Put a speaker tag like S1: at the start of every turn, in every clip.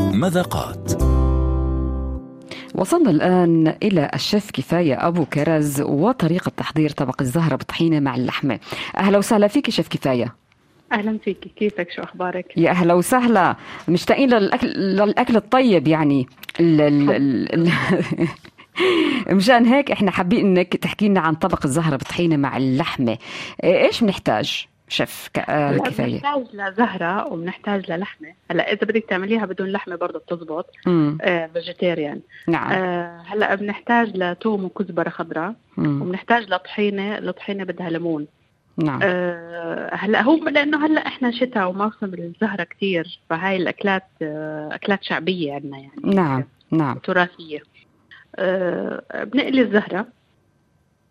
S1: المذاقات
S2: وصلنا الآن إلى الشيف كفاية أبو كرز وطريقة تحضير طبق الزهرة بالطحينة مع اللحمة أهلا وسهلا فيك شيف كفاية
S3: اهلا فيكي كيفك شو اخبارك
S2: يا أهلا وسهلا مشتاقين للأكل, للأكل الطيب يعني ال... ال... ال... ال- مشان هيك احنا حابين انك تحكي لنا عن طبق الزهرة بالطحينة مع اللحمة إيه- ايش بنحتاج شيف ك... آه،
S3: هلا
S2: كفاية
S3: بنحتاج لزهره وبنحتاج للحمه هلا اذا بدك تعمليها بدون لحمه برضه بتزبط
S2: مم.
S3: فيجيتيريان
S2: نعم
S3: آه هلا بنحتاج لثوم وكزبره خضراء
S2: مم.
S3: وبنحتاج لطحينه الطحينه بدها ليمون
S2: نعم
S3: آه هلا هو لانه هلا احنا شتاء وموسم الزهره كثير فهاي الاكلات آه اكلات شعبيه عندنا يعني
S2: نعم نعم
S3: تراثيه آه بنقلي الزهره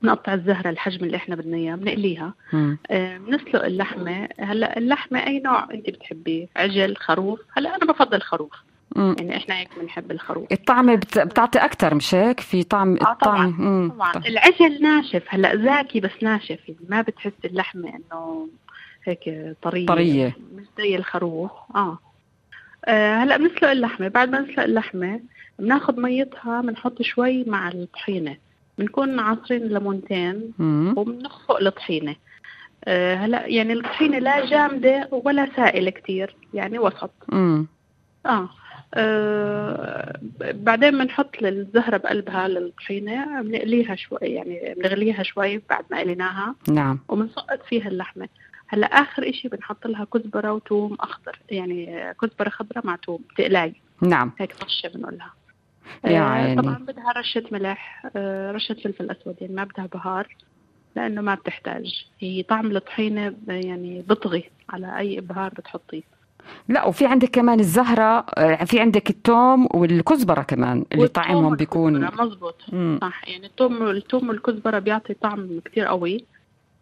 S3: بنقطع الزهره الحجم اللي احنا بدنا اياه بنقليها
S2: مم.
S3: آه، بنسلق اللحمة هلا اللحمة أي نوع أنت بتحبيه عجل خروف هلا أنا بفضل خروف
S2: مم.
S3: يعني إحنا هيك بنحب الخروف
S2: الطعمة بت... بتعطي أكتر مش هيك؟ في طعم
S3: آه، طبعاً،
S2: الطعم مم.
S3: طبعا
S2: طب-
S3: العجل ناشف هلا زاكي بس ناشف يعني ما بتحس اللحمة إنه هيك طرية
S2: طرية
S3: مش زي الخروف آه آه، هلا بنسلق اللحمة بعد ما نسلق اللحمة بناخذ ميتها بنحط شوي مع الطحينة بنكون عصرين ليمونتين
S2: مم.
S3: وبنخفق الطحينة آه، هلا يعني الطحينة لا جامدة ولا سائلة كتير يعني وسط
S2: مم.
S3: اه, آه بعدين بنحط الزهرة بقلبها للطحينة بنقليها شوي يعني بنغليها شوي بعد ما قليناها
S2: نعم
S3: وبنسقط فيها اللحمة هلا آخر إشي بنحط لها كزبرة وتوم أخضر يعني آه، كزبرة خضراء مع توم تقلاي
S2: نعم
S3: هيك طشة بنقولها
S2: يا
S3: آه،
S2: عيني.
S3: طبعا بدها رشة ملح آه، رشة فلفل أسود يعني ما بدها بهار لأنه ما بتحتاج هي طعم الطحينة ب- يعني بطغي على أي بهار بتحطيه
S2: لا وفي عندك كمان الزهرة آه، في عندك التوم والكزبرة كمان اللي
S3: والثوم
S2: طعمهم بيكون
S3: والكزبرة، مزبوط
S2: مم.
S3: صح يعني الثوم الثوم والكزبرة بيعطي طعم كتير قوي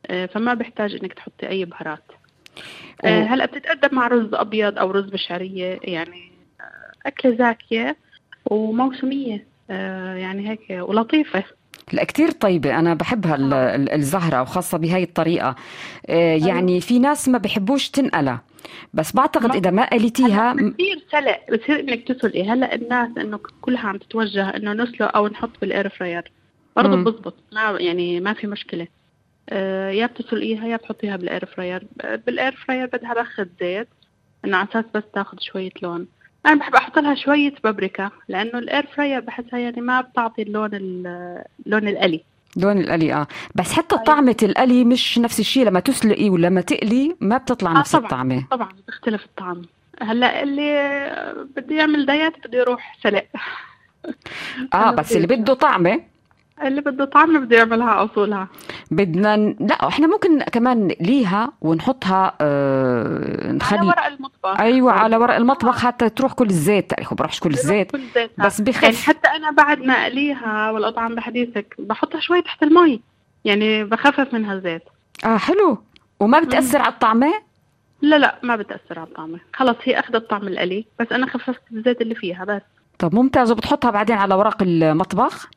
S3: آه، فما بحتاج انك تحطي اي بهارات آه،
S2: و-
S3: هلا بتتقدم مع رز ابيض او رز بشعريه يعني آه، اكله زاكيه وموسميه آه، يعني هيك ولطيفه
S2: لا كتير طيبة أنا بحبها ال-
S3: آه.
S2: ال- الزهرة وخاصة بهاي الطريقة آه،
S3: أيوة.
S2: يعني في ناس ما بحبوش تنقلها بس بعتقد
S3: ما-
S2: إذا ما قليتيها م-
S3: كثير سلق بصير انك تسلقي هلا الناس انه كلها عم تتوجه انه نسلق او نحط بالاير فراير برضه
S2: مم.
S3: بزبط ما يعني ما في مشكله آه، يا بتسلقيها يا بتحطيها بالاير فراير بالاير فراير بدها بخة زيت انه على اساس بس تاخذ شويه لون انا بحب احط لها شويه بابريكا لانه الاير فراير بحسها يعني ما بتعطي اللون ال- اللون القلي
S2: لون القلي آه بس حتى
S3: أيوة.
S2: طعمة القلي مش نفس الشيء لما تسلقي ولما تقلي ما بتطلع
S3: آه،
S2: نفس
S3: طبعاً.
S2: الطعمة
S3: طبعا بيختلف الطعم هلا اللي بده يعمل دايت بده يروح سلق
S2: آه
S3: أنا
S2: بس اللي
S3: بدي-
S2: بده طعمة
S3: اللي بده طعم بده يعملها اصولها
S2: بدنا ن- لا احنا ممكن كمان ليها ونحطها آه
S3: على
S2: نخلي
S3: ورق المطبخ
S2: ايوه على ورق
S3: آه.
S2: المطبخ حتى تروح كل الزيت يعني هو بروحش كل الزيت
S3: كل زيتها
S2: بس
S3: يعني
S2: بخف
S3: حتى انا بعد ما اقليها والاطعم بحديثك بحطها شوي تحت المي يعني بخفف منها الزيت
S2: اه حلو وما بتاثر على الطعمه
S3: لا لا ما بتاثر على الطعمه خلص هي اخذت طعم القلي بس انا خففت الزيت اللي فيها بس
S2: طب ممتاز وبتحطها بعدين على ورق المطبخ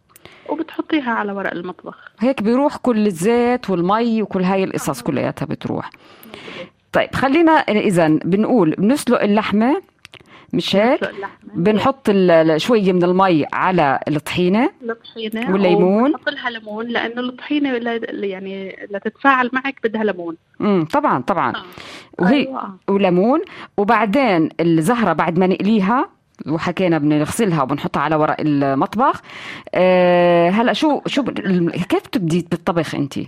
S3: وبتحطيها على ورق المطبخ
S2: هيك بيروح كل الزيت والمي وكل هاي القصص كلياتها بتروح طيب خلينا اذا بنقول بنسلق اللحمه مش هيك
S3: بنسلق اللحمة.
S2: بنحط ال- ال- شوي من المي على الطحينه
S3: الطحينه
S2: والليمون.
S3: وبنحط لها ليمون لانه الطحينه ل- يعني لتتفاعل معك بدها ليمون
S2: امم طبعا طبعا
S3: آه.
S2: وهي
S3: أيوة. آه.
S2: وليمون وبعدين الزهرة بعد ما نقليها وحكينا بدنا نغسلها وبنحطها على ورق المطبخ أه هلا شو شو ب- الم- كيف بتبدي بالطبخ انت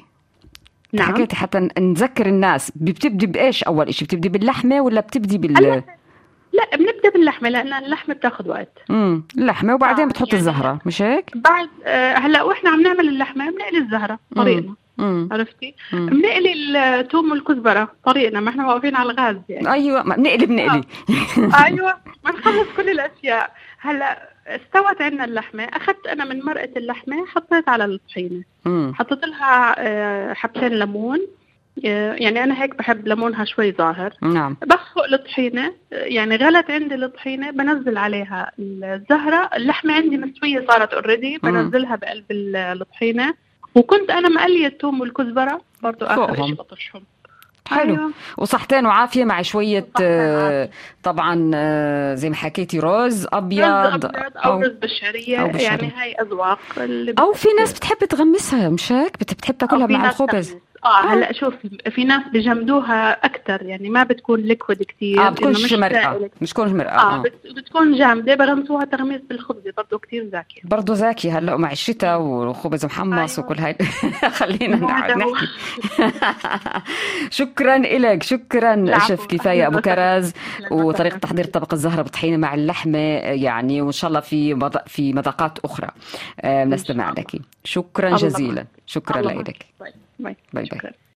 S3: نعم
S2: حكيتي حتى ن- نذكر الناس ب- بتبدي بايش اول شيء بتبدي باللحمه ولا بتبدي بال
S3: هلا لا بنبدا باللحمه لان اللحمه بتاخذ وقت
S2: امم اللحمه وبعدين
S3: آه،
S2: بتحطي
S3: يعني-
S2: الزهره مش هيك
S3: بعد آه، هلا واحنا عم نعمل اللحمه بنقلي الزهره طريقنا
S2: امم
S3: عرفتي
S2: أمم.
S3: بنقلي الثوم والكزبره طريقنا ما احنا واقفين على الغاز يعني
S2: ايوه ما بنقلي بنقلي
S3: ايوه بنخلص كل الاشياء هلا استوت عندنا اللحمه اخذت انا من مرقه اللحمه حطيت على الطحينه
S2: امم
S3: حطيت لها آه، حبتين ليمون آه، يعني انا هيك بحب ليمونها شوي ظاهر
S2: نعم
S3: بخفق الطحينه آه، يعني غلت عندي الطحينه بنزل عليها الزهره اللحمه عندي مستويه صارت اوريدي
S2: مم.
S3: بنزلها بقلب ال- الطحينه وكنت انا مقليه الثوم والكزبره برضو اخر
S2: فوقهم.
S3: شيء بطشهم
S2: حلو
S3: أيوة.
S2: وصحتين وعافيه مع شويه
S3: وصحتين
S2: آه، طبعا آه، زي ما حكيتي رز
S3: رز
S2: ابيض
S3: ابيض او
S2: او
S3: رز بالشعريه
S2: أو بالشعرية.
S3: يعني هاي اذواق اللي
S2: او في ناس بتحب تغمسها مشاك بت- بتحب تاكلها
S3: أو في
S2: مع
S3: ناس
S2: الخبز آه.
S3: تغمس. اه هلا شوف في ناس بجمدوها اكثر يعني ما بتكون ليكويد كثير
S2: اه بتكونش مرقه مش تكونش مرقه
S3: اه
S2: اه
S3: بت- بتكون جامده بغمسوها تغميس بالخبز برضه كثير زاكي
S2: برضه زاكي هلا ومع الشتاء وخبز محمص
S3: أيوة.
S2: وكل هاي خلينا
S3: هو
S2: نقعد
S3: هذا هو.
S2: نعم. نحكي شكرا لك شكرا
S3: العفو. أيوه.
S2: شيف كفايه ابو
S3: أهلاً وسهلاً.
S2: كراز
S3: أهلاً
S2: وطريقه
S3: وسهلاً.
S2: تحضير طبق الزهره بطحينه مع اللحمه يعني وان شاء الله في مذاق- في مذاقات اخرى آه، بنستمع
S3: الله.
S2: لك شكرا
S3: الله
S2: جزيلا شكرا
S3: الله
S2: لك
S3: معك. باي
S2: باي
S3: باي
S2: باي.
S3: شكراً.